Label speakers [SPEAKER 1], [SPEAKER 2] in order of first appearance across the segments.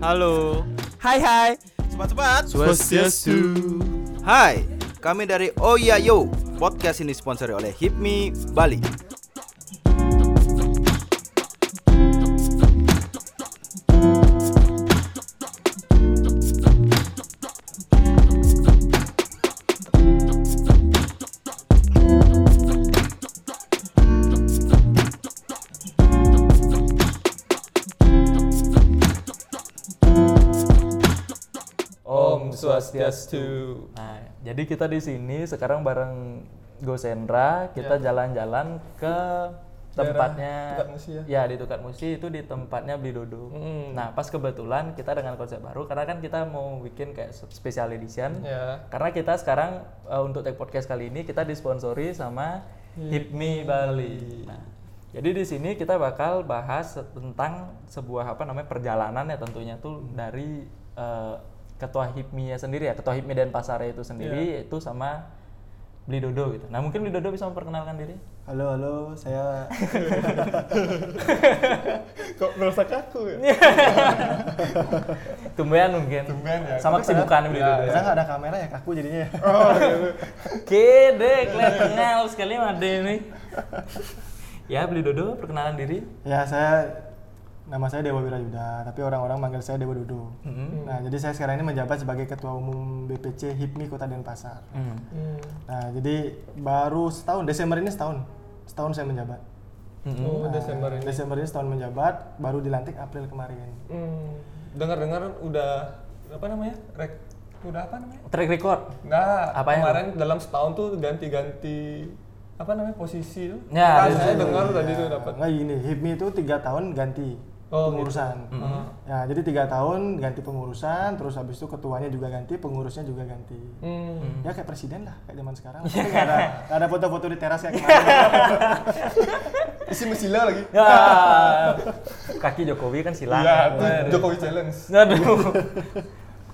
[SPEAKER 1] Halo.
[SPEAKER 2] Hai hai.
[SPEAKER 3] Sobat-sobat.
[SPEAKER 1] Swastiastu.
[SPEAKER 3] Hai, kami dari Oh Ya Yo. Podcast ini sponsori oleh Hipmi Bali.
[SPEAKER 1] Om Swastiastu. Nah, jadi kita di sini sekarang bareng Gosendra, kita jalan-jalan ke tempatnya
[SPEAKER 4] Ya. Tukat Musi ya?
[SPEAKER 1] di Tukat Musi itu di tempatnya Beli Dodo.
[SPEAKER 4] Mm.
[SPEAKER 1] Nah, pas kebetulan kita dengan konsep baru karena kan kita mau bikin kayak special edition.
[SPEAKER 4] Ya.
[SPEAKER 1] Karena kita sekarang eh, untuk Tech Podcast kali ini kita disponsori sama Hipmi Bali. Nah, jadi di sini kita bakal bahas tentang sebuah apa namanya perjalanan ya tentunya tuh dari eh, ketua Hipmi nya sendiri ya, ketua Hipmi dan pasarnya itu
[SPEAKER 4] Iya.
[SPEAKER 1] sendiri itu sama Beli Dodo gitu. Nah, mungkin Beli Dodo bisa memperkenalkan diri.
[SPEAKER 5] Halo, halo, saya
[SPEAKER 4] Kok merasa kaku ya?
[SPEAKER 1] Iya. Tumben mungkin.
[SPEAKER 4] Tumben ya. Iya,
[SPEAKER 1] Sama kesibukan Beli Dodo.
[SPEAKER 5] saya nggak ada kamera ya kaku jadinya. ya.
[SPEAKER 4] Oh.
[SPEAKER 1] Kede, kelihatan sekali Made ini. ya, Beli Dodo perkenalan diri.
[SPEAKER 5] ya saya nama saya Dewa Wirayuda, tapi orang-orang manggil saya Dewa Dodo.
[SPEAKER 4] Hmm.
[SPEAKER 5] Nah, jadi saya sekarang ini menjabat sebagai ketua umum BPC HIPMI Kota Denpasar.
[SPEAKER 4] Hmm.
[SPEAKER 5] Nah, jadi baru setahun Desember ini setahun. Setahun saya menjabat.
[SPEAKER 4] Oh, Desember
[SPEAKER 5] Nah,
[SPEAKER 4] ini.
[SPEAKER 5] Desember ini setahun menjabat, baru dilantik April kemarin.
[SPEAKER 4] Hmm. Dengar-dengar udah apa namanya? Rek udah apa namanya?
[SPEAKER 1] Track record.
[SPEAKER 4] Nah,
[SPEAKER 1] Apa yang-
[SPEAKER 4] kemarin dalam setahun tuh ganti-ganti apa namanya posisi tuh. Nah,
[SPEAKER 1] Ya, ada-
[SPEAKER 4] saya dengar tadi tuh dapat.
[SPEAKER 5] Nah, gini, HIPMI itu tiga tahun ganti
[SPEAKER 4] Oh,
[SPEAKER 5] pengurusan. Ya, jadi tiga tahun ganti pengurusan, terus habis itu ketuanya juga ganti, pengurusnya juga ganti.
[SPEAKER 4] Hmm.
[SPEAKER 5] Ya kayak presiden lah, kayak zaman sekarang. Tapi nggak ada, nggak ada foto-foto di teras kayak kemarin.
[SPEAKER 4] Isi mesila lagi.
[SPEAKER 1] Ya. Kaki Jokowi kan silang.
[SPEAKER 4] Iya, itu Jokowi challenge.
[SPEAKER 1] Aduh.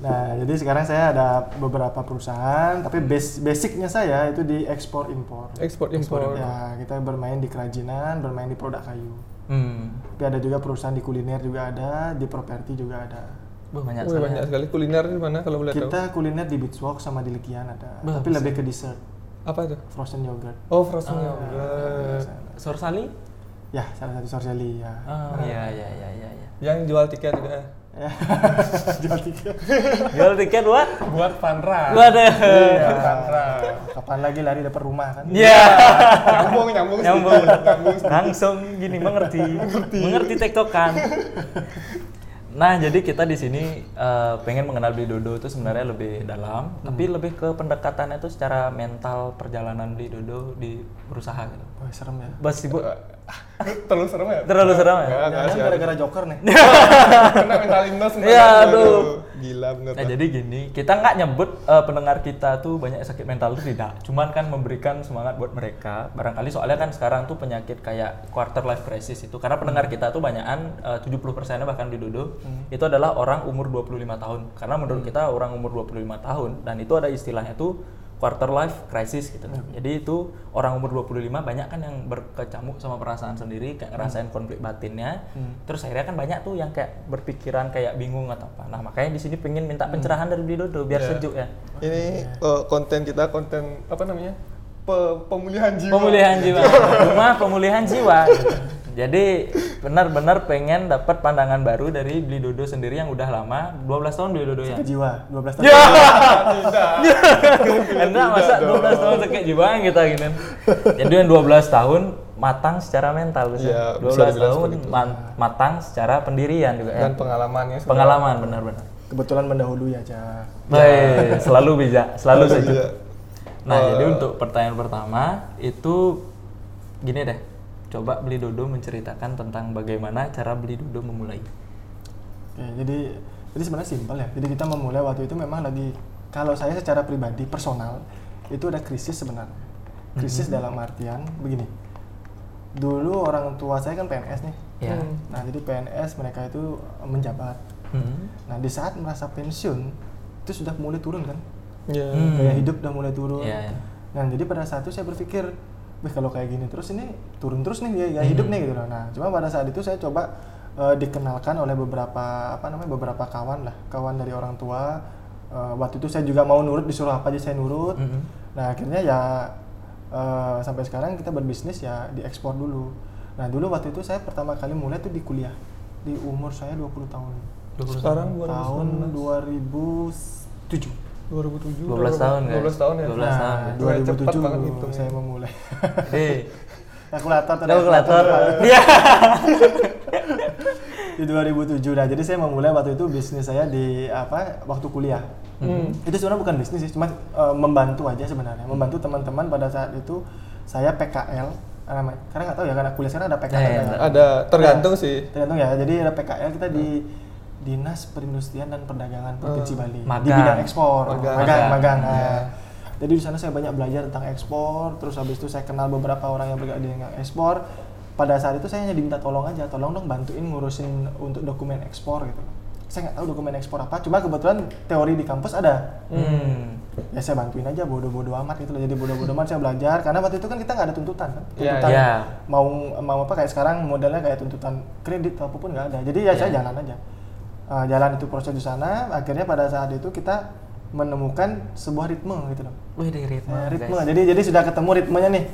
[SPEAKER 5] nah, jadi sekarang saya ada beberapa perusahaan, tapi bas- basicnya saya itu di ekspor impor.
[SPEAKER 4] Ekspor impor.
[SPEAKER 5] Ya, kita bermain di kerajinan, bermain di produk kayu.
[SPEAKER 1] Hmm.
[SPEAKER 5] Tapi ada juga perusahaan di kuliner juga ada, di properti juga ada.
[SPEAKER 1] Wah, banyak
[SPEAKER 4] Wih,
[SPEAKER 1] sekali.
[SPEAKER 4] banyak sekali kuliner di mana kalau boleh tahu.
[SPEAKER 5] Kita kuliner di Beachwalk sama di Lekian ada,
[SPEAKER 1] Bagus.
[SPEAKER 5] tapi lebih ke dessert,
[SPEAKER 4] Apa itu?
[SPEAKER 5] frozen yogurt. Nah,
[SPEAKER 4] Oh, frozen
[SPEAKER 1] Ah,
[SPEAKER 4] yogurt.
[SPEAKER 1] Sorsali?
[SPEAKER 5] Ya, salah satu sorselli ya.
[SPEAKER 1] Oh, iya iya iya iya iya.
[SPEAKER 4] Yang jual tiket juga.
[SPEAKER 5] Ya, Jual tiket.
[SPEAKER 1] Jual tiket buat?
[SPEAKER 4] Buat fun run.
[SPEAKER 1] Waduh.
[SPEAKER 4] Iya, fun run.
[SPEAKER 5] Kapan lagi lari dapat rumah kan?
[SPEAKER 1] Iya.
[SPEAKER 4] nyambung nyambung
[SPEAKER 1] Nyambung.
[SPEAKER 4] nyambung
[SPEAKER 1] Langsung gini mengerti. mengerti. tektokan. Nah, jadi kita di sini eh, pengen mengenal Bli Dodo itu sebenarnya lebih dalam, tapi lebih ke pendekatannya itu secara mental perjalanan Bli Dodo di berusaha gitu.
[SPEAKER 5] Wah, serem ya.
[SPEAKER 1] Bas ibu
[SPEAKER 4] terlalu serem ya
[SPEAKER 1] terlalu serem ya?
[SPEAKER 4] Nggak, nggak
[SPEAKER 5] Jangan
[SPEAKER 4] sih
[SPEAKER 5] gara-gara Joker nih.
[SPEAKER 4] kena mental illness mental
[SPEAKER 1] Iya,
[SPEAKER 4] illness.
[SPEAKER 1] aduh.
[SPEAKER 4] gila bener
[SPEAKER 1] Nah, jadi gini, kita nggak nyebut eh, pendengar kita tuh banyak sakit mental itu tidak. Cuman kan memberikan semangat buat mereka. Barangkali soalnya kan sekarang tuh penyakit kayak quarter life crisis itu karena pendengar kita tuh banyakan eh, 70%-nya bahkan di Dodo itu adalah orang umur 25 tahun. Karena menurut kita orang umur 25 tahun dan itu ada istilahnya tuh quarter life crisis gitu. Jadi itu orang umur 25 banyak kan yang berkecamuk sama perasaan sendiri, kayak ngerasain konflik batinnya. Terus akhirnya kan banyak tuh yang kayak berpikiran kayak bingung atau apa. Nah, makanya di sini pengen minta pencerahan dari Bli Dodo biar sejuk ya.
[SPEAKER 4] ini eh, konten kita konten apa namanya Pe- pemulihan jiwa
[SPEAKER 1] Pemulihan jiwa. Cuma pemulihan jiwa. Jadi benar-benar pengen dapat pandangan baru dari Bli Dodo sendiri yang udah lama, 12 tahun Bli Dodo ya.
[SPEAKER 5] Ke jiwa 12 tahun.
[SPEAKER 1] Enak masa 12 tahun sakit jiwaan kita gini. Jadi yang 12 tahun matang secara mental bisa.
[SPEAKER 4] Iya, bisa dibilang
[SPEAKER 1] 12 tahun man- matang secara pendirian juga ya.
[SPEAKER 4] dan pengalamannya sudah-
[SPEAKER 1] Pengalaman benar-benar.
[SPEAKER 5] Kebetulan mendahului aja.
[SPEAKER 1] Baik, selalu bijak, selalu
[SPEAKER 4] Iya.
[SPEAKER 1] sejuk. Nah, jadi untuk pertanyaan pertama itu gini deh. Coba beli Dodo menceritakan tentang bagaimana cara beli Dodo memulai.
[SPEAKER 5] Oke, jadi jadi sebenarnya simpel ya. Jadi kita memulai waktu itu memang lagi kalau saya secara pribadi personal itu ada krisis sebenarnya. Krisis dalam artian begini. Dulu orang tua saya kan PNS nih.
[SPEAKER 1] Ya.
[SPEAKER 5] Nah, jadi PNS mereka itu menjabat.
[SPEAKER 1] Hmm.
[SPEAKER 5] Nah, di saat merasa pensiun itu sudah mulai turun kan.
[SPEAKER 4] Iya.
[SPEAKER 1] Hmm.
[SPEAKER 5] Gaya hidup udah mulai turun.
[SPEAKER 1] Iya, iya.
[SPEAKER 5] Nah, jadi pada saat itu saya berpikir,
[SPEAKER 1] Hmm.
[SPEAKER 5] wih kalau kayak gini terus ini turun terus nih gaya, gaya hidup nih gitu loh. Nah, cuma pada saat itu saya coba eh, dikenalkan oleh beberapa apa namanya beberapa kawan lah, kawan dari orang tua. Eh, waktu itu saya juga mau nurut disuruh apa aja saya nurut.
[SPEAKER 1] Hmm.
[SPEAKER 5] Nah akhirnya ya eh, sampai sekarang kita berbisnis ya diekspor dulu. Nah dulu waktu itu saya pertama kali mulai tuh di kuliah di umur saya 20 tahun.
[SPEAKER 4] Sekarang
[SPEAKER 5] Tahun
[SPEAKER 4] 2019.
[SPEAKER 5] 2007.
[SPEAKER 4] 2007.
[SPEAKER 1] 12 tahun, guys.
[SPEAKER 4] 12 tahun ya.
[SPEAKER 1] 12 tahun.
[SPEAKER 5] Nah,
[SPEAKER 4] Wah, cepet
[SPEAKER 5] 2007
[SPEAKER 4] banget hitungnya.
[SPEAKER 5] saya memulai.
[SPEAKER 1] Eh,
[SPEAKER 5] kalkulator tuh,
[SPEAKER 1] kalkulator.
[SPEAKER 5] kalkulator.
[SPEAKER 1] Iya.
[SPEAKER 5] di 2007 nah jadi saya memulai waktu itu bisnis saya di apa waktu kuliah
[SPEAKER 4] Hmm.
[SPEAKER 5] itu sebenarnya bukan bisnis sih cuma eh, membantu aja sebenarnya membantu teman-teman pada saat itu saya PKL namanya karena nggak tahu ya karena kuliah sekarang ada
[SPEAKER 1] Iya,
[SPEAKER 5] PKL ada
[SPEAKER 1] iya,
[SPEAKER 5] nggak?
[SPEAKER 4] Ada tergantung sih.
[SPEAKER 5] tergantung ya jadi ada PKL kita di Dinas Perindustrian dan Perdagangan Provinsi Bali di
[SPEAKER 1] Magang.
[SPEAKER 5] bidang ekspor
[SPEAKER 4] Magang.
[SPEAKER 5] magang magang,
[SPEAKER 1] Magang.
[SPEAKER 5] nah. jadi di sana saya banyak belajar tentang ekspor terus habis itu saya kenal beberapa orang yang bergerak di bidang ekspor pada saat itu saya hanya diminta tolong aja tolong dong bantuin ngurusin untuk dokumen ekspor gitu saya nggak tahu dokumen ekspor apa cuma kebetulan teori di kampus ada
[SPEAKER 1] Hmm.
[SPEAKER 5] ya saya bantuin aja bodoh-bodoh amat gitu loh jadi bodoh-bodoh amat saya belajar karena waktu itu kan kita nggak ada tuntutan kan
[SPEAKER 4] Iya,
[SPEAKER 5] tuntutan
[SPEAKER 1] iya.
[SPEAKER 5] mau mau apa kayak sekarang modelnya kayak tuntutan kredit apapun nggak ada jadi
[SPEAKER 1] Iya.
[SPEAKER 5] ya saya jalan aja Eh, jalan itu proses di sana akhirnya pada saat itu kita menemukan sebuah ritme gitu loh
[SPEAKER 1] Wih, dari ritme,
[SPEAKER 5] Eh, ritme
[SPEAKER 1] guys.
[SPEAKER 5] jadi jadi sudah ketemu ritmenya nih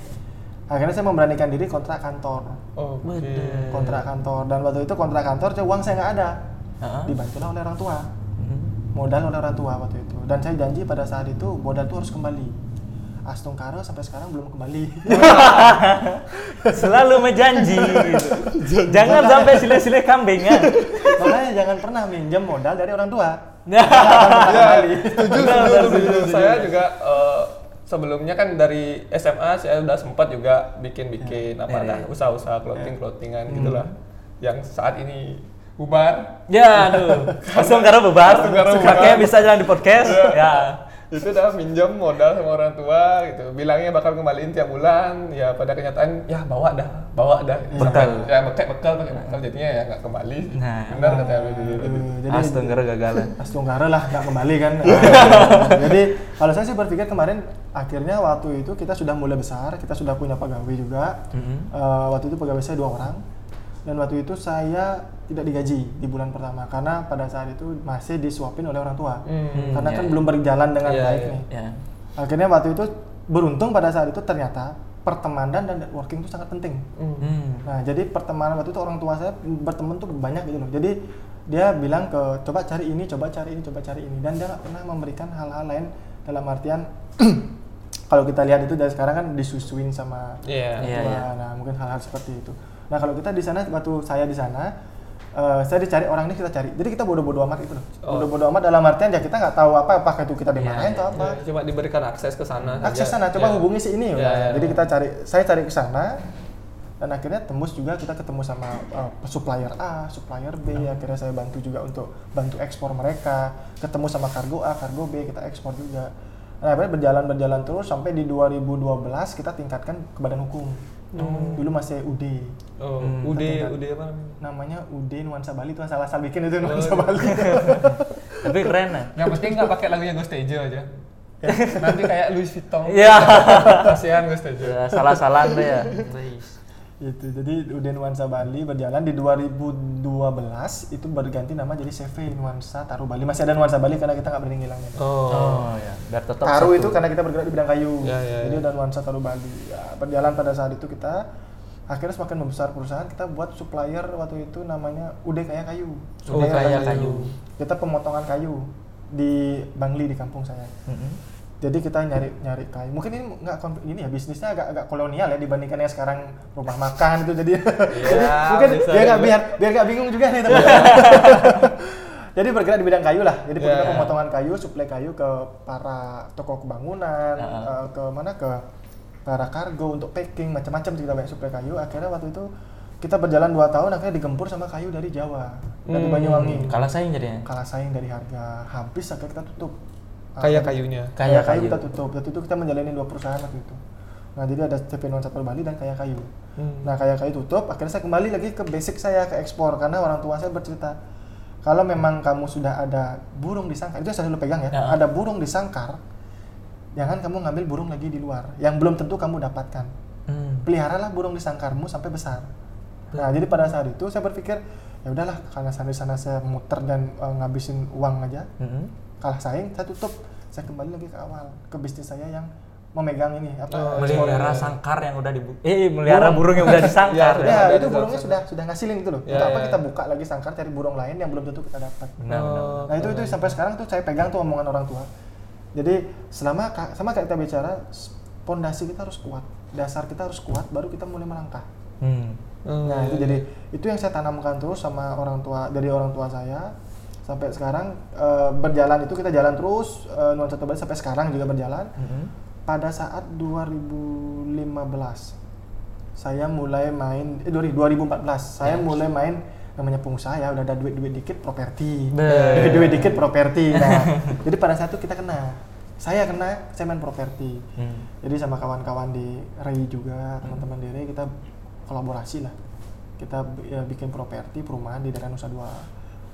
[SPEAKER 5] akhirnya saya memberanikan diri kontrak kantor
[SPEAKER 4] Oke.
[SPEAKER 1] Waduh.
[SPEAKER 5] kontrak kantor dan waktu itu kontrak kantor saya- uang saya nggak ada
[SPEAKER 1] Heeh.
[SPEAKER 5] dibantulah oleh orang tua
[SPEAKER 1] Hmm.
[SPEAKER 5] modal oleh orang tua waktu itu dan saya janji pada saat itu modal itu harus kembali Astung Karo sampai sekarang belum kembali
[SPEAKER 1] Selalu menjanji. gitu. Jangan sampai sile-sile kambengan.
[SPEAKER 5] makanya jangan pernah minjem modal dari orang tua
[SPEAKER 4] Iya,
[SPEAKER 1] Betul,
[SPEAKER 4] setuju, setuju,
[SPEAKER 1] betul, setuju,
[SPEAKER 4] setuju.
[SPEAKER 1] setuju.
[SPEAKER 4] Saya juga eh, sebelumnya kan dari SMA saya udah sempat juga bikin-bikin apa
[SPEAKER 1] Ya,
[SPEAKER 4] dah
[SPEAKER 1] ya. Hmm.
[SPEAKER 4] usaha-usaha clothing-clothingan gitulah. Yang saat ini bubar.
[SPEAKER 1] Ya, aduh. Langsung karena bebar.
[SPEAKER 4] Langsung karena
[SPEAKER 1] Kakek
[SPEAKER 4] bebar.
[SPEAKER 1] bisa jalan di podcast. Ya.
[SPEAKER 4] itu udah minjem modal sama orang tua gitu bilangnya bakal kembaliin tiap bulan ya pada kenyataan ya bawa dah bawa dah
[SPEAKER 1] Bekal. Hmm.
[SPEAKER 4] ya bekal bekal pakai bekal jadinya ya nggak kembali
[SPEAKER 1] Nah.
[SPEAKER 4] benar kata Abi tadi tadi.
[SPEAKER 5] Eh, jadi
[SPEAKER 1] Astung karena gagalan.
[SPEAKER 5] Astung Karo lah nggak kembali kan Eh, jadi kalau saya sih berpikir kemarin akhirnya waktu itu kita sudah mulai besar kita sudah punya pegawai juga
[SPEAKER 1] Hmm.
[SPEAKER 5] Eh, waktu itu pegawai saya dua orang dan waktu itu saya tidak digaji di bulan pertama karena pada saat itu masih disuapin oleh orang tua
[SPEAKER 4] Hmm,
[SPEAKER 5] karena
[SPEAKER 1] iya,
[SPEAKER 5] kan
[SPEAKER 1] iya.
[SPEAKER 5] belum berjalan dengan
[SPEAKER 4] Iya,
[SPEAKER 5] baik
[SPEAKER 4] iya.
[SPEAKER 5] nih
[SPEAKER 1] Ya.
[SPEAKER 5] akhirnya waktu itu beruntung pada saat itu ternyata pertemanan dan networking itu sangat penting
[SPEAKER 4] Hmm.
[SPEAKER 1] Hmm.
[SPEAKER 5] Nah, jadi pertemanan waktu itu orang tua saya berteman tuh banyak gitu loh. Jadi dia bilang ke coba cari ini, coba cari ini, coba cari ini dan dia nggak pernah memberikan hal-hal lain dalam artian kalau kita lihat itu dari sekarang kan disusuin sama
[SPEAKER 4] Iya.
[SPEAKER 1] Iya.
[SPEAKER 5] tua. Nah, mungkin hal-hal seperti itu. Nah, kalau kita di sana waktu saya di sana eh, saya dicari orang ini kita cari. Jadi kita bodoh-bodoh amat gitu loh.
[SPEAKER 4] Oh.
[SPEAKER 5] Bodoh-bodoh amat dalam artian ya kita nggak tahu apa apakah itu kita
[SPEAKER 1] Iya,
[SPEAKER 5] dimarahin atau apa
[SPEAKER 4] Ya, cuma diberikan akses ke sana
[SPEAKER 5] akses
[SPEAKER 4] saja.
[SPEAKER 5] sana
[SPEAKER 4] Ya.
[SPEAKER 5] coba hubungi si
[SPEAKER 4] Ya,
[SPEAKER 5] ini udah.
[SPEAKER 4] ya.
[SPEAKER 5] jadi kita cari saya cari ke sana dan akhirnya tembus juga kita ketemu sama uh, supplier A, supplier B, akhirnya saya bantu juga untuk bantu ekspor mereka, ketemu sama kargo A, kargo B, kita ekspor juga. Nah, akhirnya berjalan berjalan terus sampai di 2012 kita tingkatkan ke badan hukum. Dulu masih UD,
[SPEAKER 4] oh,
[SPEAKER 1] Hmm,
[SPEAKER 4] UD
[SPEAKER 5] Tingkat.
[SPEAKER 4] UD apa namanya
[SPEAKER 5] namanya UD Nuansa Bali itu asal asal bikin itu Nuansa Bali.
[SPEAKER 1] Tapi keren lah.
[SPEAKER 4] yang penting nggak pakai lagunya Ghost Tejo aja nanti kayak Louis Vuitton
[SPEAKER 1] Iya.
[SPEAKER 4] kasihan Ghost Tejo
[SPEAKER 1] Ya, Salah-salahan tuh ya.
[SPEAKER 5] itu jadi UD Nuansa Bali berjalan di 2012 itu berganti nama jadi CV Nuansa Taru Bali masih ada Nuansa Bali karena kita nggak berani ngilangin
[SPEAKER 4] oh
[SPEAKER 1] Oh, ya. Biar tetap satu.
[SPEAKER 5] Taru itu kan. karena kita bergerak di bidang kayu
[SPEAKER 4] Ya, ya,
[SPEAKER 5] jadi
[SPEAKER 4] ya.
[SPEAKER 5] udah Nuansa Taru Bali Ya, berjalan pada saat itu kita akhirnya semakin membesar perusahaan kita buat supplier waktu itu namanya UD Kaya Kayu
[SPEAKER 1] Oh, Kaya
[SPEAKER 5] Kaya
[SPEAKER 1] Kayu.
[SPEAKER 5] kita pemotongan kayu di Bangli di kampung saya
[SPEAKER 1] Mm-mm.
[SPEAKER 5] jadi kita nyari nyari kayu mungkin ini nggak konf- ini ya bisnisnya agak agak kolonial ya dibandingkan yang sekarang rumah makan itu jadi jadi mungkin
[SPEAKER 4] Iya, bisa
[SPEAKER 5] biar nggak
[SPEAKER 4] juga.
[SPEAKER 5] biar biar nggak bingung juga nih teman jadi bergerak di bidang kayu lah jadi
[SPEAKER 4] Ya.
[SPEAKER 5] yeah. pemotongan kayu suplai kayu ke para toko kebangunan
[SPEAKER 1] Ya.
[SPEAKER 5] eh, ke mana ke para kargo untuk packing macam-macam kita banyak suplai kayu akhirnya waktu itu kita berjalan dua tahun akhirnya digempur sama kayu dari Jawa dari
[SPEAKER 4] Hmm.
[SPEAKER 5] Banyuwangi
[SPEAKER 1] Kalah saing ya? jadinya.
[SPEAKER 5] kalah saing dari harga habis akhirnya kita tutup
[SPEAKER 4] kayak kayunya
[SPEAKER 5] Kaya
[SPEAKER 1] kayu.
[SPEAKER 5] kayu, kita tutup. Waktu itu kita menjalani dua perusahaan waktu itu. Nah, jadi ada CV Nuansa Peru Bali dan Kaya Kayu.
[SPEAKER 4] Hmm.
[SPEAKER 5] Nah, Kaya Kayu tutup, akhirnya saya kembali lagi ke basic saya ke ekspor karena orang tua saya bercerita kalau memang kamu sudah ada burung di sangkar, itu saya selalu pegang ya.
[SPEAKER 1] Ya.
[SPEAKER 5] Ada burung di sangkar, jangan kamu ngambil burung lagi di luar yang belum tentu kamu dapatkan
[SPEAKER 1] Hmm.
[SPEAKER 5] peliharalah burung di sangkarmu sampai besar. Nah, jadi pada saat itu saya berpikir ya udahlah karena sana sana saya muter dan eh, ngabisin uang aja
[SPEAKER 1] Mm-mm.
[SPEAKER 5] kalah saing saya tutup saya kembali lagi ke awal ke bisnis saya yang memegang ini apa
[SPEAKER 4] Oh,
[SPEAKER 5] ekspor.
[SPEAKER 1] melihara sangkar yang udah dibu eh melihara burung yang udah disangkar
[SPEAKER 4] Ya,
[SPEAKER 1] ya.
[SPEAKER 5] ya,
[SPEAKER 4] ada
[SPEAKER 5] itu
[SPEAKER 4] di
[SPEAKER 5] burungnya
[SPEAKER 4] sana.
[SPEAKER 5] sudah sudah ngasilin itu loh
[SPEAKER 4] Ya,
[SPEAKER 5] untuk apa
[SPEAKER 4] ya.
[SPEAKER 5] kita buka lagi sangkar cari burung lain yang belum tentu kita dapat
[SPEAKER 1] Iya, Benar, benar.
[SPEAKER 5] Nah itu itu sampai sekarang tuh saya pegang tuh omongan orang tua. Jadi selama ka- sama kayak kita bicara, s- pondasi kita harus kuat, dasar kita harus kuat, baru kita mulai melangkah.
[SPEAKER 1] Hmm. iya.
[SPEAKER 5] Nah itu jadi itu yang saya tanamkan terus sama orang tua dari orang tua saya sampai sekarang eh, berjalan itu kita jalan terus eh, nuansa Toba sampai sekarang juga berjalan.
[SPEAKER 1] Mm-mm.
[SPEAKER 5] Pada saat 2015 saya mulai main eh 2000 2014 saya mulai main namanya pengusaha ya udah ada duit-duit dikit properti.
[SPEAKER 1] Be-
[SPEAKER 5] Duit-duit dikit properti. Nah, jadi pada saat itu kita kena. Saya kena, saya main properti.
[SPEAKER 1] Hmm.
[SPEAKER 5] Jadi sama kawan-kawan di REI juga, teman-teman di REI kita kolaborasi lah. Kita b- ya, bikin properti perumahan di daerah Nusa Dua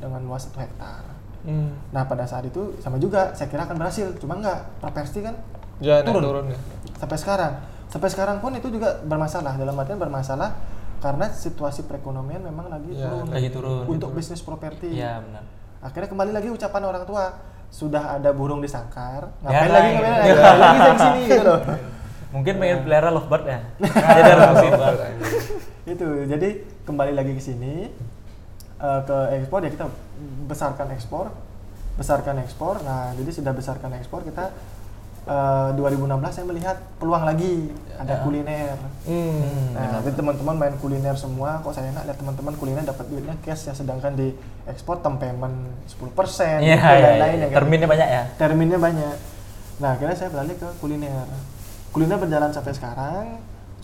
[SPEAKER 5] dengan luas satu hektar.
[SPEAKER 4] Hmm.
[SPEAKER 5] Nah pada saat itu sama juga, saya kira akan berhasil, cuma nggak properti kan
[SPEAKER 4] Jangan
[SPEAKER 5] turun.
[SPEAKER 4] turun. turun ya.
[SPEAKER 5] sampai sekarang. Sampai sekarang pun itu juga bermasalah dalam artian bermasalah karena situasi perekonomian memang lagi
[SPEAKER 4] Ya,
[SPEAKER 5] turun
[SPEAKER 1] Iya, lagi turun,
[SPEAKER 5] untuk
[SPEAKER 1] gitu.
[SPEAKER 5] bisnis properti.
[SPEAKER 1] Iya, benar.
[SPEAKER 5] Akhirnya kembali lagi ucapan orang tua, sudah ada burung di sangkar,
[SPEAKER 1] Ya,
[SPEAKER 5] ngapain lagi
[SPEAKER 1] nah,
[SPEAKER 5] ngapain
[SPEAKER 1] iya.
[SPEAKER 5] lagi, ngapain lagi dari sini gitu loh.
[SPEAKER 1] Mungkin
[SPEAKER 5] Ah.
[SPEAKER 1] pengen pelihara lovebird ya. Jadi ada musibah.
[SPEAKER 5] itu jadi kembali lagi ke sini eh, ke ekspor ya kita besarkan ekspor, besarkan ekspor. Nah jadi sudah besarkan ekspor kita eh, 2016 saya melihat peluang lagi ada
[SPEAKER 1] Iya.
[SPEAKER 5] kuliner.
[SPEAKER 4] Hmm.
[SPEAKER 5] Nah, jadi teman-teman main kuliner semua, kok saya enak lihat teman-teman kuliner dapat duitnya cash ya, sedangkan di ekspor temp payment 10% persen, gitu,
[SPEAKER 1] Iya, iya, iya.
[SPEAKER 5] yang kayak
[SPEAKER 1] Terminnya banyak ya.
[SPEAKER 5] kan? terminnya banyak. Nah, akhirnya saya beralih ke kuliner. Kuliner berjalan sampai sekarang,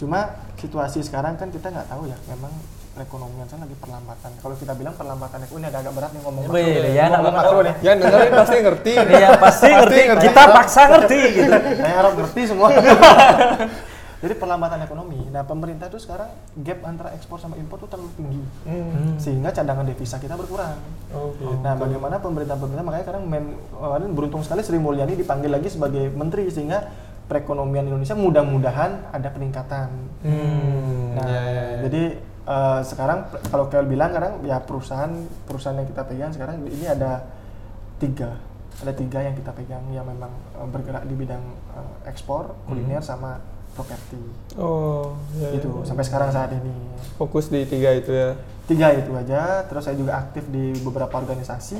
[SPEAKER 5] cuma situasi sekarang kan kita nggak tahu ya, memang perekonomian kan lagi perlambatan. Kalau kita bilang perlambatan ekonomi ini agak, agak berat nih ngomong
[SPEAKER 1] Wih, ya,
[SPEAKER 5] ngomong
[SPEAKER 1] nggak
[SPEAKER 5] makro
[SPEAKER 1] apa-apa.
[SPEAKER 5] nih.
[SPEAKER 4] Yang dengerin pasti ngerti.
[SPEAKER 1] Iya, pasti ngerti. Kita paksa ngerti gitu.
[SPEAKER 5] Saya harap ngerti semua. Jadi perlambatan ekonomi. Nah, pemerintah tuh sekarang gap antara ekspor sama impor tuh terlalu tinggi.
[SPEAKER 4] Hmm.
[SPEAKER 5] Sehingga cadangan devisa kita berkurang.
[SPEAKER 4] Oh, gitu.
[SPEAKER 5] Nah, bagaimana pemerintah-pemerintah makanya kadang men, kemarin beruntung sekali Sri Mulyani dipanggil lagi sebagai menteri sehingga perekonomian Indonesia mudah-mudahan ada peningkatan.
[SPEAKER 4] Hmm.
[SPEAKER 5] Nah,
[SPEAKER 4] Ya, ya, ya.
[SPEAKER 5] jadi eh, sekarang pe- kalau Kel bilang kadang ya perusahaan perusahaan yang kita pegang sekarang ini ada tiga ada tiga yang kita pegang yang memang eh, bergerak di bidang eh, ekspor kuliner
[SPEAKER 4] Hmm.
[SPEAKER 5] sama properti
[SPEAKER 4] Oh, ya, ya.
[SPEAKER 5] gitu sampai sekarang saat ini
[SPEAKER 4] Fokus di tiga itu ya.
[SPEAKER 5] tiga itu aja terus saya juga aktif di beberapa organisasi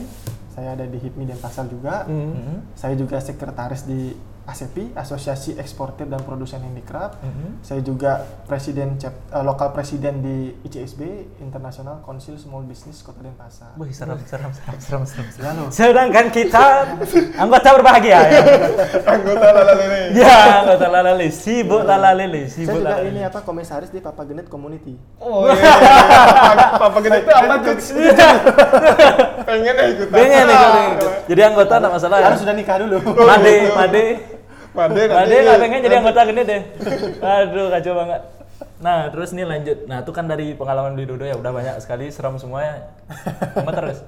[SPEAKER 5] saya ada di HIPMI Denpasar juga
[SPEAKER 4] Hmm.
[SPEAKER 1] Mm-mm.
[SPEAKER 5] saya juga sekretaris di ASEPI Asosiasi Eksportir dan Produsen Handicraft
[SPEAKER 1] Hmm.
[SPEAKER 5] saya juga presiden chap- eh, lokal presiden di ICSB International Council Small Business Kota Denpasar
[SPEAKER 1] Wih, serem, serem, serem, serem, serem.
[SPEAKER 5] ya loh
[SPEAKER 1] Sedangkan kita anggota berbahagia ya.
[SPEAKER 4] Anggota lalala ini.
[SPEAKER 1] Ya, anggota lalali, sibuk lalali,
[SPEAKER 5] saya
[SPEAKER 1] sibuk
[SPEAKER 5] juga
[SPEAKER 1] lalali.
[SPEAKER 5] ini ya. apa komisaris di Papa Genet Community
[SPEAKER 4] Oh iya. Papa- Papa gede itu apa tuh?
[SPEAKER 1] Iya,
[SPEAKER 4] Pengen deh ikutan.
[SPEAKER 1] Pengen ikutin. Jadi anggota enggak masalah. ya?
[SPEAKER 5] harus sudah nikah dulu
[SPEAKER 1] Made, made.
[SPEAKER 4] Made
[SPEAKER 1] Made
[SPEAKER 4] nanti.
[SPEAKER 1] nggak pengen jadi anggota gini deh. Aduh, kacau banget. Nah, terus nih lanjut. Nah, itu kan dari pengalaman Dwi Dodo ya udah banyak sekali seram semua ya. Cuma terus.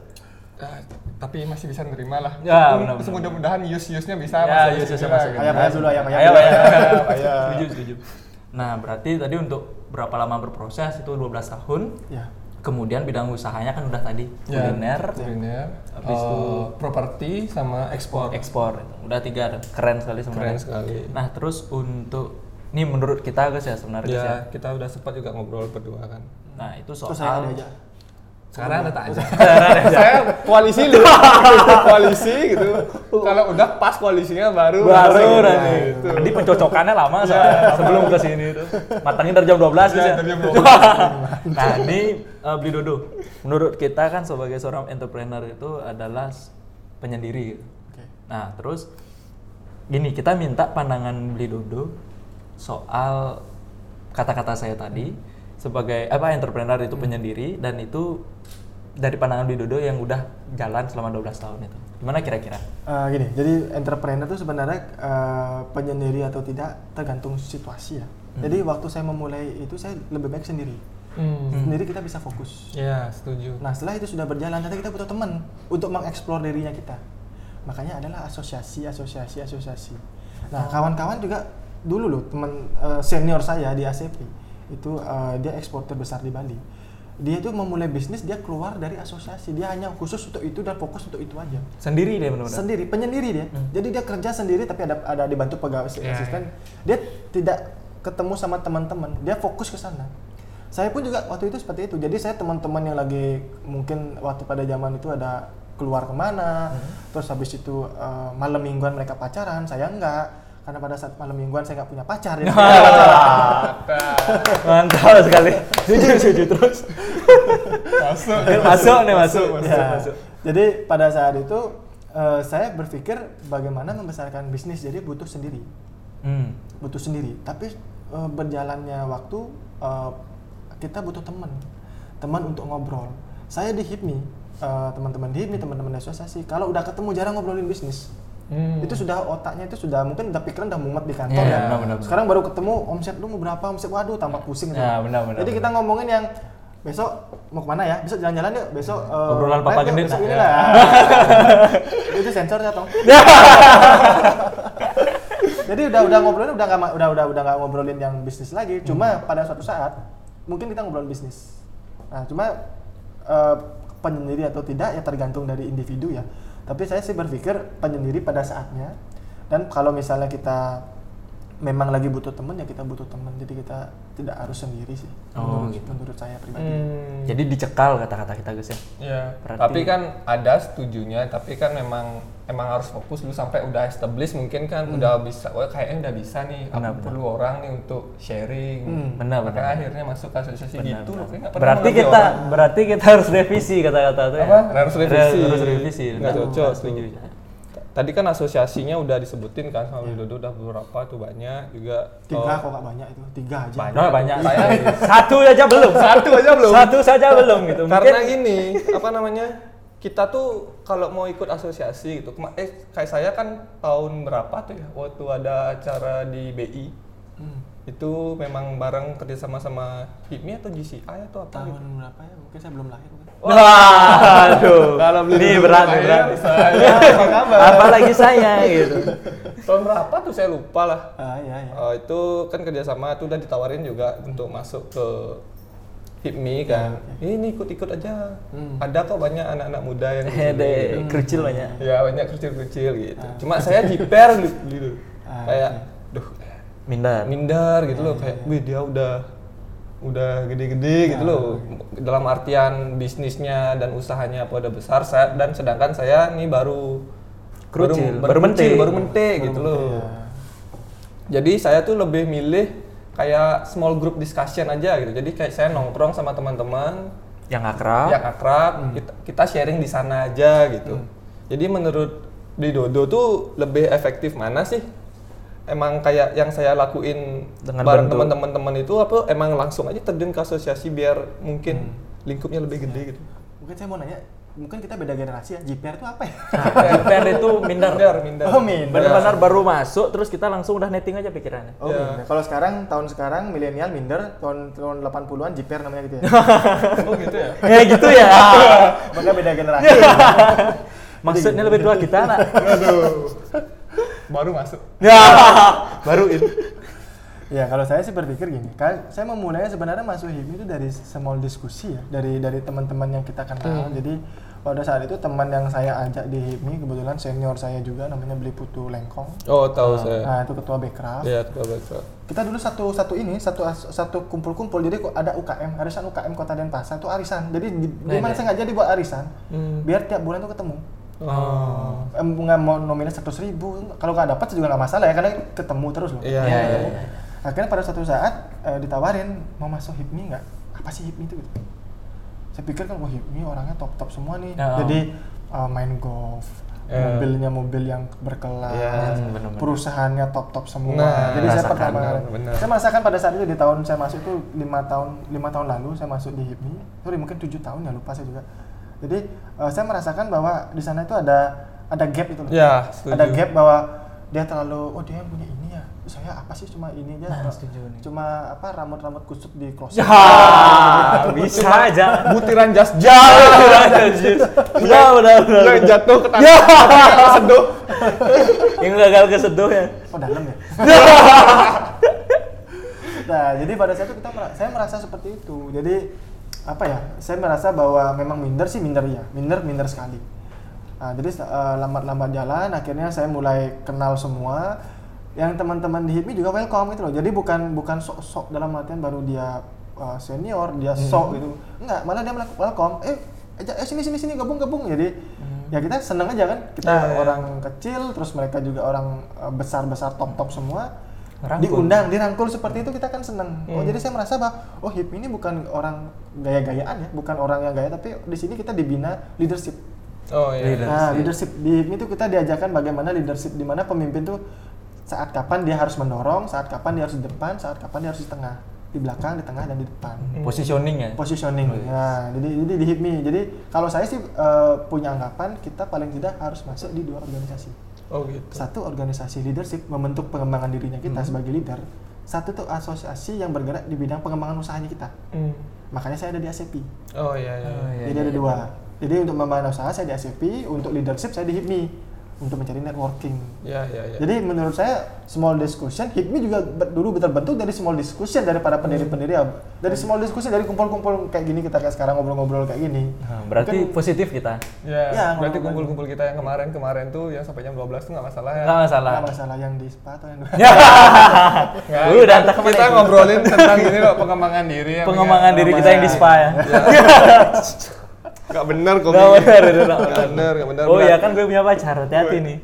[SPEAKER 4] Ah, tapi masih bisa nerima lah.
[SPEAKER 1] Ya,
[SPEAKER 4] Hmm,
[SPEAKER 1] benar, benar.
[SPEAKER 4] Semudah-mudahan use-use-nya bisa
[SPEAKER 1] Ya,
[SPEAKER 4] masuk
[SPEAKER 1] yuk, saya
[SPEAKER 4] sini lah,
[SPEAKER 1] masuk.
[SPEAKER 4] gitu.
[SPEAKER 5] ayam ayam dulu ayam ayam
[SPEAKER 1] Ayam,
[SPEAKER 5] dulu.
[SPEAKER 1] ayam, ayam.
[SPEAKER 4] Ayam.
[SPEAKER 1] Setuju, setuju. Nah, berarti tadi untuk berapa lama berproses itu 12 tahun.
[SPEAKER 5] ya
[SPEAKER 1] Kemudian bidang usahanya kan udah tadi
[SPEAKER 4] Ya,
[SPEAKER 1] kuliner,
[SPEAKER 4] kuliner,
[SPEAKER 1] Habis itu-
[SPEAKER 4] eh, properti sama ekspor.
[SPEAKER 1] ekspor gitu. udah tiga tuh. keren sekali
[SPEAKER 4] Keren
[SPEAKER 1] sebenarnya
[SPEAKER 4] sekali.
[SPEAKER 1] nah terus untuk ini menurut kita guys ya sebenarnya Gus, ya
[SPEAKER 4] Ya, kita udah sempat juga ngobrol berdua kan.
[SPEAKER 1] nah itu
[SPEAKER 5] terus saya
[SPEAKER 1] soal
[SPEAKER 5] ada aja
[SPEAKER 4] Sekarang ada tak aja. Saya koalisi dulu, koalisi gitu. Kalau udah pas koalisinya baru
[SPEAKER 1] baru
[SPEAKER 4] masuk.
[SPEAKER 1] udah
[SPEAKER 4] Nah,
[SPEAKER 1] nih
[SPEAKER 4] gitu.
[SPEAKER 1] tadi pencocokannya lama soalnya sebelum ke sini tuh matangnya dari jam 12
[SPEAKER 4] Ya,
[SPEAKER 1] Gus, ya
[SPEAKER 4] dari jam
[SPEAKER 1] nah ini eh, beli dodo menurut kita kan sebagai seorang entrepreneur itu adalah s- penyendiri gitu.
[SPEAKER 5] Oke.
[SPEAKER 1] Nah, terus gini, kita minta pandangan Beli Dodo soal kata-kata saya tadi sebagai apa entrepreneur itu penyendiri dan itu dari pandangan Beli Dodo yang udah jalan selama 12 tahun itu. Gimana kira-kira?
[SPEAKER 5] Eh, gini, jadi entrepreneur itu sebenarnya eh, penyendiri atau tidak tergantung situasi ya. Jadi waktu saya memulai itu saya lebih baik sendiri.
[SPEAKER 4] Hmm.
[SPEAKER 5] Sendiri kita bisa fokus.
[SPEAKER 4] Ya, setuju.
[SPEAKER 5] Nah setelah itu sudah berjalan, ternyata kita butuh teman untuk mengeksplor dirinya kita. Makanya adalah asosiasi, asosiasi, asosiasi. Nah kawan-kawan juga dulu loh teman eh, senior saya di ACP itu eh, dia eksportir besar di Bali. dia itu memulai bisnis dia keluar dari asosiasi dia hanya khusus untuk itu dan fokus untuk itu aja
[SPEAKER 1] Sendiri dia benar-benar.
[SPEAKER 5] sendiri penyendiri dia jadi dia kerja sendiri tapi ada ada dibantu pegawai si-
[SPEAKER 4] Ya,
[SPEAKER 5] asisten dia tidak ketemu sama teman-teman dia fokus ke sana saya pun juga waktu itu seperti itu jadi saya teman-teman yang lagi mungkin waktu pada zaman itu ada keluar kemana terus habis itu eh, malam mingguan mereka pacaran saya enggak karena pada saat malam mingguan saya nggak punya pacar ya.
[SPEAKER 1] Iya,
[SPEAKER 5] Iya. jadi saya nggak pacaran.
[SPEAKER 1] Nah. Mantap sekali. Jujur, jujur iya. terus.
[SPEAKER 4] Masuk.
[SPEAKER 1] Masuk nih, masuk.
[SPEAKER 5] Ya.
[SPEAKER 1] masuk.
[SPEAKER 5] Jadi pada saat itu eh, saya berpikir bagaimana membesarkan bisnis jadi butuh sendiri,
[SPEAKER 1] Hmm.
[SPEAKER 5] butuh sendiri. Tapi eh, berjalannya waktu eh, kita butuh teman, teman untuk ngobrol. Saya di HIPMI, eh, teman-teman di HIPMI, teman-teman di asosiasi. Kalau udah ketemu jarang ngobrolin bisnis. Itu
[SPEAKER 4] Hmm.
[SPEAKER 5] sudah otaknya itu sudah mungkin udah pikiran udah mumet di kantor
[SPEAKER 1] Hmm. Iya,
[SPEAKER 5] ya.
[SPEAKER 1] benar-benar.
[SPEAKER 5] Sekarang baru ketemu omset lu mau berapa, omset waduh tambah pusing.
[SPEAKER 1] Ya,
[SPEAKER 5] tuh.
[SPEAKER 1] benar-benar.
[SPEAKER 5] Jadi kita ngomongin yang besok mau kemana ya? Besok jalan-jalan yuk, besok eh,
[SPEAKER 1] Obrolan
[SPEAKER 5] live
[SPEAKER 1] Papa
[SPEAKER 5] yuk,
[SPEAKER 1] Gendit,
[SPEAKER 5] besok
[SPEAKER 1] nah,
[SPEAKER 5] ini
[SPEAKER 1] ya.
[SPEAKER 5] lah. Itu sensornya tong. Jadi udah udah ngobrolin udah nggak ma- udah udah udah nggak ngobrolin yang bisnis lagi. Cuma pada suatu saat mungkin kita ngobrolin bisnis. Nah, cuma eh, penyendiri atau tidak ya tergantung dari individu ya. Tapi saya sih berpikir penyendiri pada saatnya. Dan kalau misalnya kita memang lagi butuh temen ya kita butuh temen. Jadi kita tidak harus sendiri sih.
[SPEAKER 1] Oh,
[SPEAKER 5] menurut,
[SPEAKER 1] gitu.
[SPEAKER 5] menurut saya pribadi.
[SPEAKER 4] Hmm.
[SPEAKER 1] Jadi dicekal kata-kata kita guys ya.
[SPEAKER 4] Ya,
[SPEAKER 1] Berarti-
[SPEAKER 4] tapi kan ada setujunya, tapi kan memang emang harus fokus dulu sampai udah establish mungkin kan udah bisa, wah kayaknya udah bisa nih, aku
[SPEAKER 1] Hmm. Benar, benar.
[SPEAKER 4] perlu orang nih untuk sharing.
[SPEAKER 1] Benar,
[SPEAKER 4] Makanya
[SPEAKER 1] benar.
[SPEAKER 4] akhirnya masuk ke asosiasi gitu loh, kayak nggak pernah
[SPEAKER 1] Berarti
[SPEAKER 4] ngerti
[SPEAKER 1] kita
[SPEAKER 4] orang.
[SPEAKER 1] berarti kita harus revisi kata-kata itu. ya.
[SPEAKER 4] Apa? Harus revisi.
[SPEAKER 1] Harus revisi.
[SPEAKER 4] Nggak
[SPEAKER 1] Benar. Iya.
[SPEAKER 4] cocok
[SPEAKER 1] Nggak setuju.
[SPEAKER 4] tuh. Tadi kan asosiasinya udah disebutin kan sama Widodo udah beberapa tuh banyak juga. Oh,
[SPEAKER 5] Tiga kok nggak banyak itu tiga aja.
[SPEAKER 4] Banyak.
[SPEAKER 1] Nah, banyak.
[SPEAKER 4] Saya-
[SPEAKER 1] Satu aja belum.
[SPEAKER 4] Satu aja belum.
[SPEAKER 1] Satu saja belum gitu.
[SPEAKER 4] Karena
[SPEAKER 1] Mungkin-
[SPEAKER 4] gini, apa namanya? Kita tuh kalau mau ikut asosiasi gitu, kema- eh kayak saya kan tahun berapa tuh ya waktu ada acara di BI.
[SPEAKER 5] Hmm.
[SPEAKER 4] Itu memang bareng kerja sama sama HIPMI atau GCI atau apa
[SPEAKER 5] Tahun
[SPEAKER 4] gitu.
[SPEAKER 5] berapa ya? Mungkin saya belum lahir. mungkin.
[SPEAKER 1] Wah, aduh. ini
[SPEAKER 4] dulu
[SPEAKER 1] berat,
[SPEAKER 4] saya,
[SPEAKER 1] ini berat.
[SPEAKER 4] Saya apa kabar?
[SPEAKER 1] Apalagi saya gitu.
[SPEAKER 4] Tahun berapa tuh saya lupa lah.
[SPEAKER 5] Ah iya iya.
[SPEAKER 4] Eh, itu kan kerjasama tuh udah ditawarin juga untuk masuk ke HIPMI kan.
[SPEAKER 1] Ya,
[SPEAKER 4] Ini ikut-ikut aja. Ada kok banyak anak-anak muda yang di sini.
[SPEAKER 1] Hmm.
[SPEAKER 4] gitu.
[SPEAKER 1] Hede, kerucil banyak.
[SPEAKER 4] Ya banyak kecil-kecil gitu. Cuma saya jiper gitu, gitu.
[SPEAKER 5] Ah,
[SPEAKER 4] kayak, duh,
[SPEAKER 1] Minder.
[SPEAKER 4] minder gitu loh. Kayak, wih dia udah udah gede-gede gitu loh. Dalam artian bisnisnya dan usahanya apa udah besar. Saya, dan sedangkan saya nih baru
[SPEAKER 1] Kerucil,
[SPEAKER 4] baru, baru
[SPEAKER 1] baru
[SPEAKER 4] kecil,
[SPEAKER 1] mentik.
[SPEAKER 4] baru mentik gitu loh. Jadi saya tuh lebih milih kayak small group discussion aja gitu. Jadi kayak saya nongkrong sama teman-teman,
[SPEAKER 1] Yang akrab.
[SPEAKER 4] yang Iya, akrab kita, kita sharing di sana aja gitu jadi menurut di Dodo tuh lebih efektif mana sih emang kayak yang saya lakuin
[SPEAKER 1] Dengan
[SPEAKER 4] bareng
[SPEAKER 1] bentuk.
[SPEAKER 4] teman-teman teman itu apa emang langsung aja terjun ke asosiasi biar mungkin lingkupnya lebih gede gitu
[SPEAKER 5] Mungkin saya mau nanya, mungkin kita beda generasi ya. GPR itu apa ya?
[SPEAKER 1] Jiper Nah, itu minder.
[SPEAKER 4] minder minder
[SPEAKER 5] Oh, minder.
[SPEAKER 4] Iya.
[SPEAKER 1] Benar-benar baru masuk terus kita langsung udah netting aja pikirannya.
[SPEAKER 5] Oh, minder. Kalau sekarang tahun sekarang milenial minder, tahun tahun 80-an GPR namanya gitu ya.
[SPEAKER 4] oh gitu ya
[SPEAKER 1] Kayak gitu ya.
[SPEAKER 5] Maka beda generasi.
[SPEAKER 1] Maksudnya lebih tua kita anak.
[SPEAKER 4] aduh baru masuk
[SPEAKER 1] Ya.
[SPEAKER 4] baru in
[SPEAKER 5] ya, kalau saya sih berpikir gini, kan saya memulai sebenarnya masuk HIMI itu dari small diskusi ya, dari dari teman-teman yang kita kenal. Jadi pada saat itu teman yang saya ajak di HIMI kebetulan senior saya juga namanya Beli Putu Lengkong.
[SPEAKER 4] oh tahu saya
[SPEAKER 5] Nah, itu ketua Bekraf.
[SPEAKER 4] ya tahu betul
[SPEAKER 5] kita dulu satu satu ini satu as- satu kumpul-kumpul jadi kok ada UKM arisan UKM Kota Denpasar itu arisan jadi di- memang sengaja dibuat arisan biar tiap bulan tuh ketemu
[SPEAKER 4] oh
[SPEAKER 5] Em, nggak mau nominal seratus ribu kalau nggak dapat juga nggak masalah ya karena ketemu terus loh
[SPEAKER 4] iya
[SPEAKER 1] Ya,
[SPEAKER 4] iya
[SPEAKER 1] ya,
[SPEAKER 4] iya.
[SPEAKER 1] ya.
[SPEAKER 5] akhirnya pada suatu saat eh, ditawarin mau masuk HIPMI nggak apa sih HIPMI itu gitu saya pikir kan wah HIPMI orangnya top top semua nih
[SPEAKER 1] Ya.
[SPEAKER 5] jadi eh, main golf
[SPEAKER 4] Ya.
[SPEAKER 5] mobilnya mobil yang berkelas
[SPEAKER 4] Ya,
[SPEAKER 1] bener-bener.
[SPEAKER 5] perusahaannya top top semua
[SPEAKER 4] Nah,
[SPEAKER 5] jadi saya
[SPEAKER 1] merasakan,
[SPEAKER 5] pertama kali
[SPEAKER 4] bener.
[SPEAKER 5] saya merasakan pada saat itu di tahun saya masuk itu lima tahun lima tahun lalu saya masuk di HIPMI sorry mungkin tujuh tahun ya lupa saya juga jadi eh, saya merasakan bahwa di sana itu ada ada gap itu loh
[SPEAKER 4] ya setuju
[SPEAKER 5] ada gap bahwa dia terlalu oh dia yang punya ini ya saya apa sih cuma ini aja
[SPEAKER 1] Nah, setuju nih.
[SPEAKER 5] cuma apa rambut-rambut kusut di closet
[SPEAKER 1] Ya, bisa aja.
[SPEAKER 4] butiran jas
[SPEAKER 1] Jauh
[SPEAKER 4] jauh
[SPEAKER 1] Udah, udah, udah.
[SPEAKER 4] yang jatuh ke tanah
[SPEAKER 1] Ya.
[SPEAKER 4] kalau seduh
[SPEAKER 1] Yang gagal keseduh ya.
[SPEAKER 5] oh dalam ya nah jadi pada saat itu kita mera- saya merasa seperti itu jadi apa ya saya merasa bahwa memang minder sih minder ya minder minder sekali Nah, jadi eh, lambat-lambat jalan akhirnya saya mulai kenal semua yang teman-teman di HIPMI juga welcome gitu loh jadi bukan bukan sok-sok dalam artian baru dia eh, senior dia sok gitu enggak malah dia melak- welcome eh ajak- eh sini sini sini gabung gabung jadi ya kita seneng aja kan kita
[SPEAKER 4] Nah, iya.
[SPEAKER 5] orang kecil terus mereka juga orang besar besar top top semua
[SPEAKER 1] Ngerangkul.
[SPEAKER 5] diundang dirangkul seperti itu kita kan seneng oh jadi saya merasa bahwa oh hip ini bukan orang gaya-gayaan ya bukan orang yang gaya tapi di sini kita dibina leadership
[SPEAKER 4] Oh iya.
[SPEAKER 1] Leader.
[SPEAKER 5] nah
[SPEAKER 1] Leadership.
[SPEAKER 5] leadership di HIPMI itu kita diajarkan bagaimana leadership di mana pemimpin tuh saat kapan dia harus mendorong saat kapan dia harus di depan saat kapan dia harus di tengah di belakang di tengah dan di depan
[SPEAKER 1] Positioning ya.
[SPEAKER 5] positioning. Nah, jadi jadi di HIPMI. Jadi kalau saya sih eh, punya anggapan kita paling tidak harus masuk di dua organisasi.
[SPEAKER 4] Oh gitu.
[SPEAKER 5] Satu organisasi leadership membentuk pengembangan dirinya kita
[SPEAKER 1] Hmm.
[SPEAKER 5] sebagai leader. Satu tuh asosiasi yang bergerak di bidang pengembangan usahanya kita.
[SPEAKER 4] Hmm.
[SPEAKER 5] Makanya saya ada di ACP.
[SPEAKER 4] Oh iya iya.
[SPEAKER 1] Oh, iya,
[SPEAKER 5] jadi
[SPEAKER 1] iya,
[SPEAKER 5] ada
[SPEAKER 1] iya.
[SPEAKER 5] dua. Jadi untuk membangun usaha saya di ACP, untuk leadership saya di HIPMI untuk mencari networking.
[SPEAKER 4] Iya iya iya.
[SPEAKER 5] Jadi menurut saya small discussion HIPMI juga ber- dulu terbentuk dari small discussion dari para pendiri-pendiri ya. dari
[SPEAKER 1] Iya.
[SPEAKER 5] small discussion dari kumpul-kumpul kayak gini kita kayak sekarang ngobrol-ngobrol kayak gini.
[SPEAKER 1] Nah, berarti positif kita.
[SPEAKER 4] Ya,
[SPEAKER 5] Ya,
[SPEAKER 4] berarti
[SPEAKER 5] ngomong-ngomong.
[SPEAKER 4] kumpul-kumpul kita yang kemarin-kemarin tuh yang sampai jam 12 tuh nggak masalah ya.
[SPEAKER 1] Enggak masalah.
[SPEAKER 5] Nggak masalah yang di spa atau yang di-
[SPEAKER 1] Ya.
[SPEAKER 4] Nggak,
[SPEAKER 1] Lu udah antar
[SPEAKER 4] kita, kita
[SPEAKER 1] kemana?
[SPEAKER 4] ngobrolin tentang ini loh pengembangan diri ya.
[SPEAKER 1] Pengembangan diri kita yang di spa ya.
[SPEAKER 4] Enggak benar kok.
[SPEAKER 1] Nggak benar, udah nggak
[SPEAKER 4] Enggak benar, nggak benar.
[SPEAKER 1] Oh
[SPEAKER 4] Berarti-
[SPEAKER 1] iya kan gue punya pacar, hati-hati nih.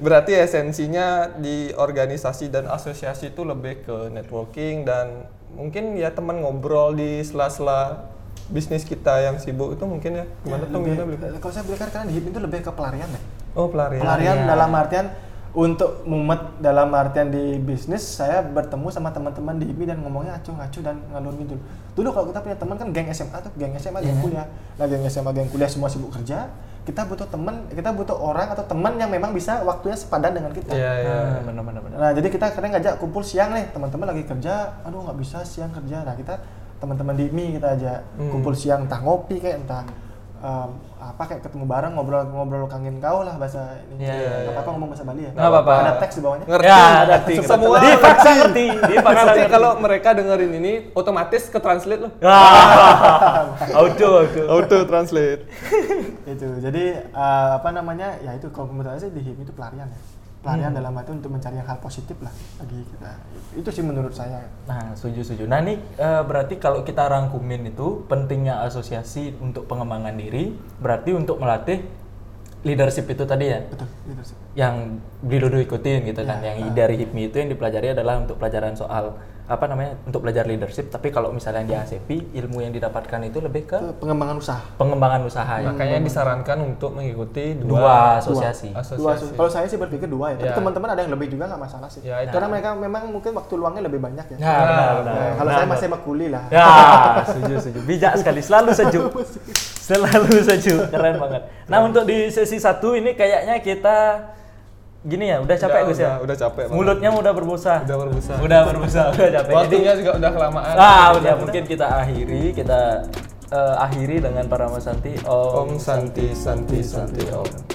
[SPEAKER 4] Berarti esensinya di organisasi dan asosiasi itu lebih ke networking dan mungkin ya teman ngobrol di sela-sela bisnis kita yang sibuk itu mungkin ya gimana
[SPEAKER 1] Iya,
[SPEAKER 4] tuh gimana Bli?
[SPEAKER 5] Kalau saya kan, berikan karena di HIPMI itu lebih ke pelarian ya.
[SPEAKER 4] Oh pelarian.
[SPEAKER 5] Pelarian dalam artian untuk mumet dalam artian di bisnis saya bertemu sama teman-teman di HIPMI dan ngomongnya acuh-acuh dan ngalur ngidul. Dulu kalau kita punya teman kan geng SMA tuh, geng SMA, geng kuliah. Nah, geng SMA, geng kuliah semua sibuk kerja. Kita butuh teman, kita butuh orang atau teman yang memang bisa waktunya sepadan dengan kita.
[SPEAKER 4] Iya iya.
[SPEAKER 1] Nah, Benar benar benar.
[SPEAKER 5] Nah, jadi kita kadang ngajak kumpul siang nih, teman-teman lagi kerja, aduh nggak bisa siang kerja. Nah, kita teman-teman di MI kita aja
[SPEAKER 1] Hmm.
[SPEAKER 5] kumpul siang entah ngopi kayak entah em, apa kayak ketemu bareng ngobrol-ngobrol kangen kau lah bahasa ini.
[SPEAKER 1] Iya, iya,
[SPEAKER 5] Nggak apa-apa ngomong bahasa Bali ya?
[SPEAKER 1] Nggak apa-apa.
[SPEAKER 5] Ada teks di bawahnya.
[SPEAKER 4] Ngerti.
[SPEAKER 1] Ya, ngerti. ngerti.
[SPEAKER 4] Semua
[SPEAKER 1] dipaksa ngerti, dipaksa
[SPEAKER 4] Pasti
[SPEAKER 1] ngerti. Ya.
[SPEAKER 4] kalau mereka dengerin ini otomatis ke translate loh.
[SPEAKER 1] Ah, auto auto.
[SPEAKER 4] Auto translate.
[SPEAKER 5] itu. Gitu. Jadi eh, apa namanya? Ya itu kalau menurut saya sih di HIPMI itu pelarian ya.
[SPEAKER 1] Hmm.
[SPEAKER 5] Pelarian dalam arti untuk mencari yang hal positif lah bagi kita. Itu sih menurut saya.
[SPEAKER 1] Nah, setuju setuju. Nah, ini eh, berarti kalau kita rangkumin itu pentingnya asosiasi untuk pengembangan diri, berarti untuk melatih leadership itu tadi ya.
[SPEAKER 5] Betul, itu sih.
[SPEAKER 1] yang Bridodo ikutin gitu kan yang dari HIPMI itu yang dipelajari adalah untuk pelajaran soal apa namanya untuk belajar leadership tapi kalau misalnya di ACP ilmu yang didapatkan itu lebih ke
[SPEAKER 5] Itu pengembangan usaha.
[SPEAKER 1] pengembangan usaha ya
[SPEAKER 4] Makanya Nah, disarankan untuk mengikuti dua,
[SPEAKER 1] dua asosiasi
[SPEAKER 5] dua
[SPEAKER 4] asosiasi.
[SPEAKER 5] asosiasi. kalau saya sih berpikir dua ya tapi
[SPEAKER 4] Ya.
[SPEAKER 5] teman-teman ada yang lebih juga nggak masalah sih
[SPEAKER 4] Ya, itu.
[SPEAKER 5] karena mereka memang mungkin waktu luangnya lebih banyak ya
[SPEAKER 1] ya benar benar
[SPEAKER 5] Nah, kalau saya masih makuli lah
[SPEAKER 1] ya setuju setuju bijak sekali selalu sejuk selalu sejuk keren banget nah untuk di sesi satu ini kayaknya kita gini ya udah capek
[SPEAKER 4] Udah,
[SPEAKER 1] Gus ya
[SPEAKER 4] udah, udah capek banget.
[SPEAKER 1] mulutnya udah berbusa
[SPEAKER 4] Udah berbusa.
[SPEAKER 1] udah berbusa udah capek Jadi-
[SPEAKER 4] Waktunya juga udah kelamaan.
[SPEAKER 1] Ah, udah mungkin kita akhiri,
[SPEAKER 4] Oh,
[SPEAKER 1] kita eh, akhiri dengan para Mas Santi. Om
[SPEAKER 4] Om Santi Santi Santi Om.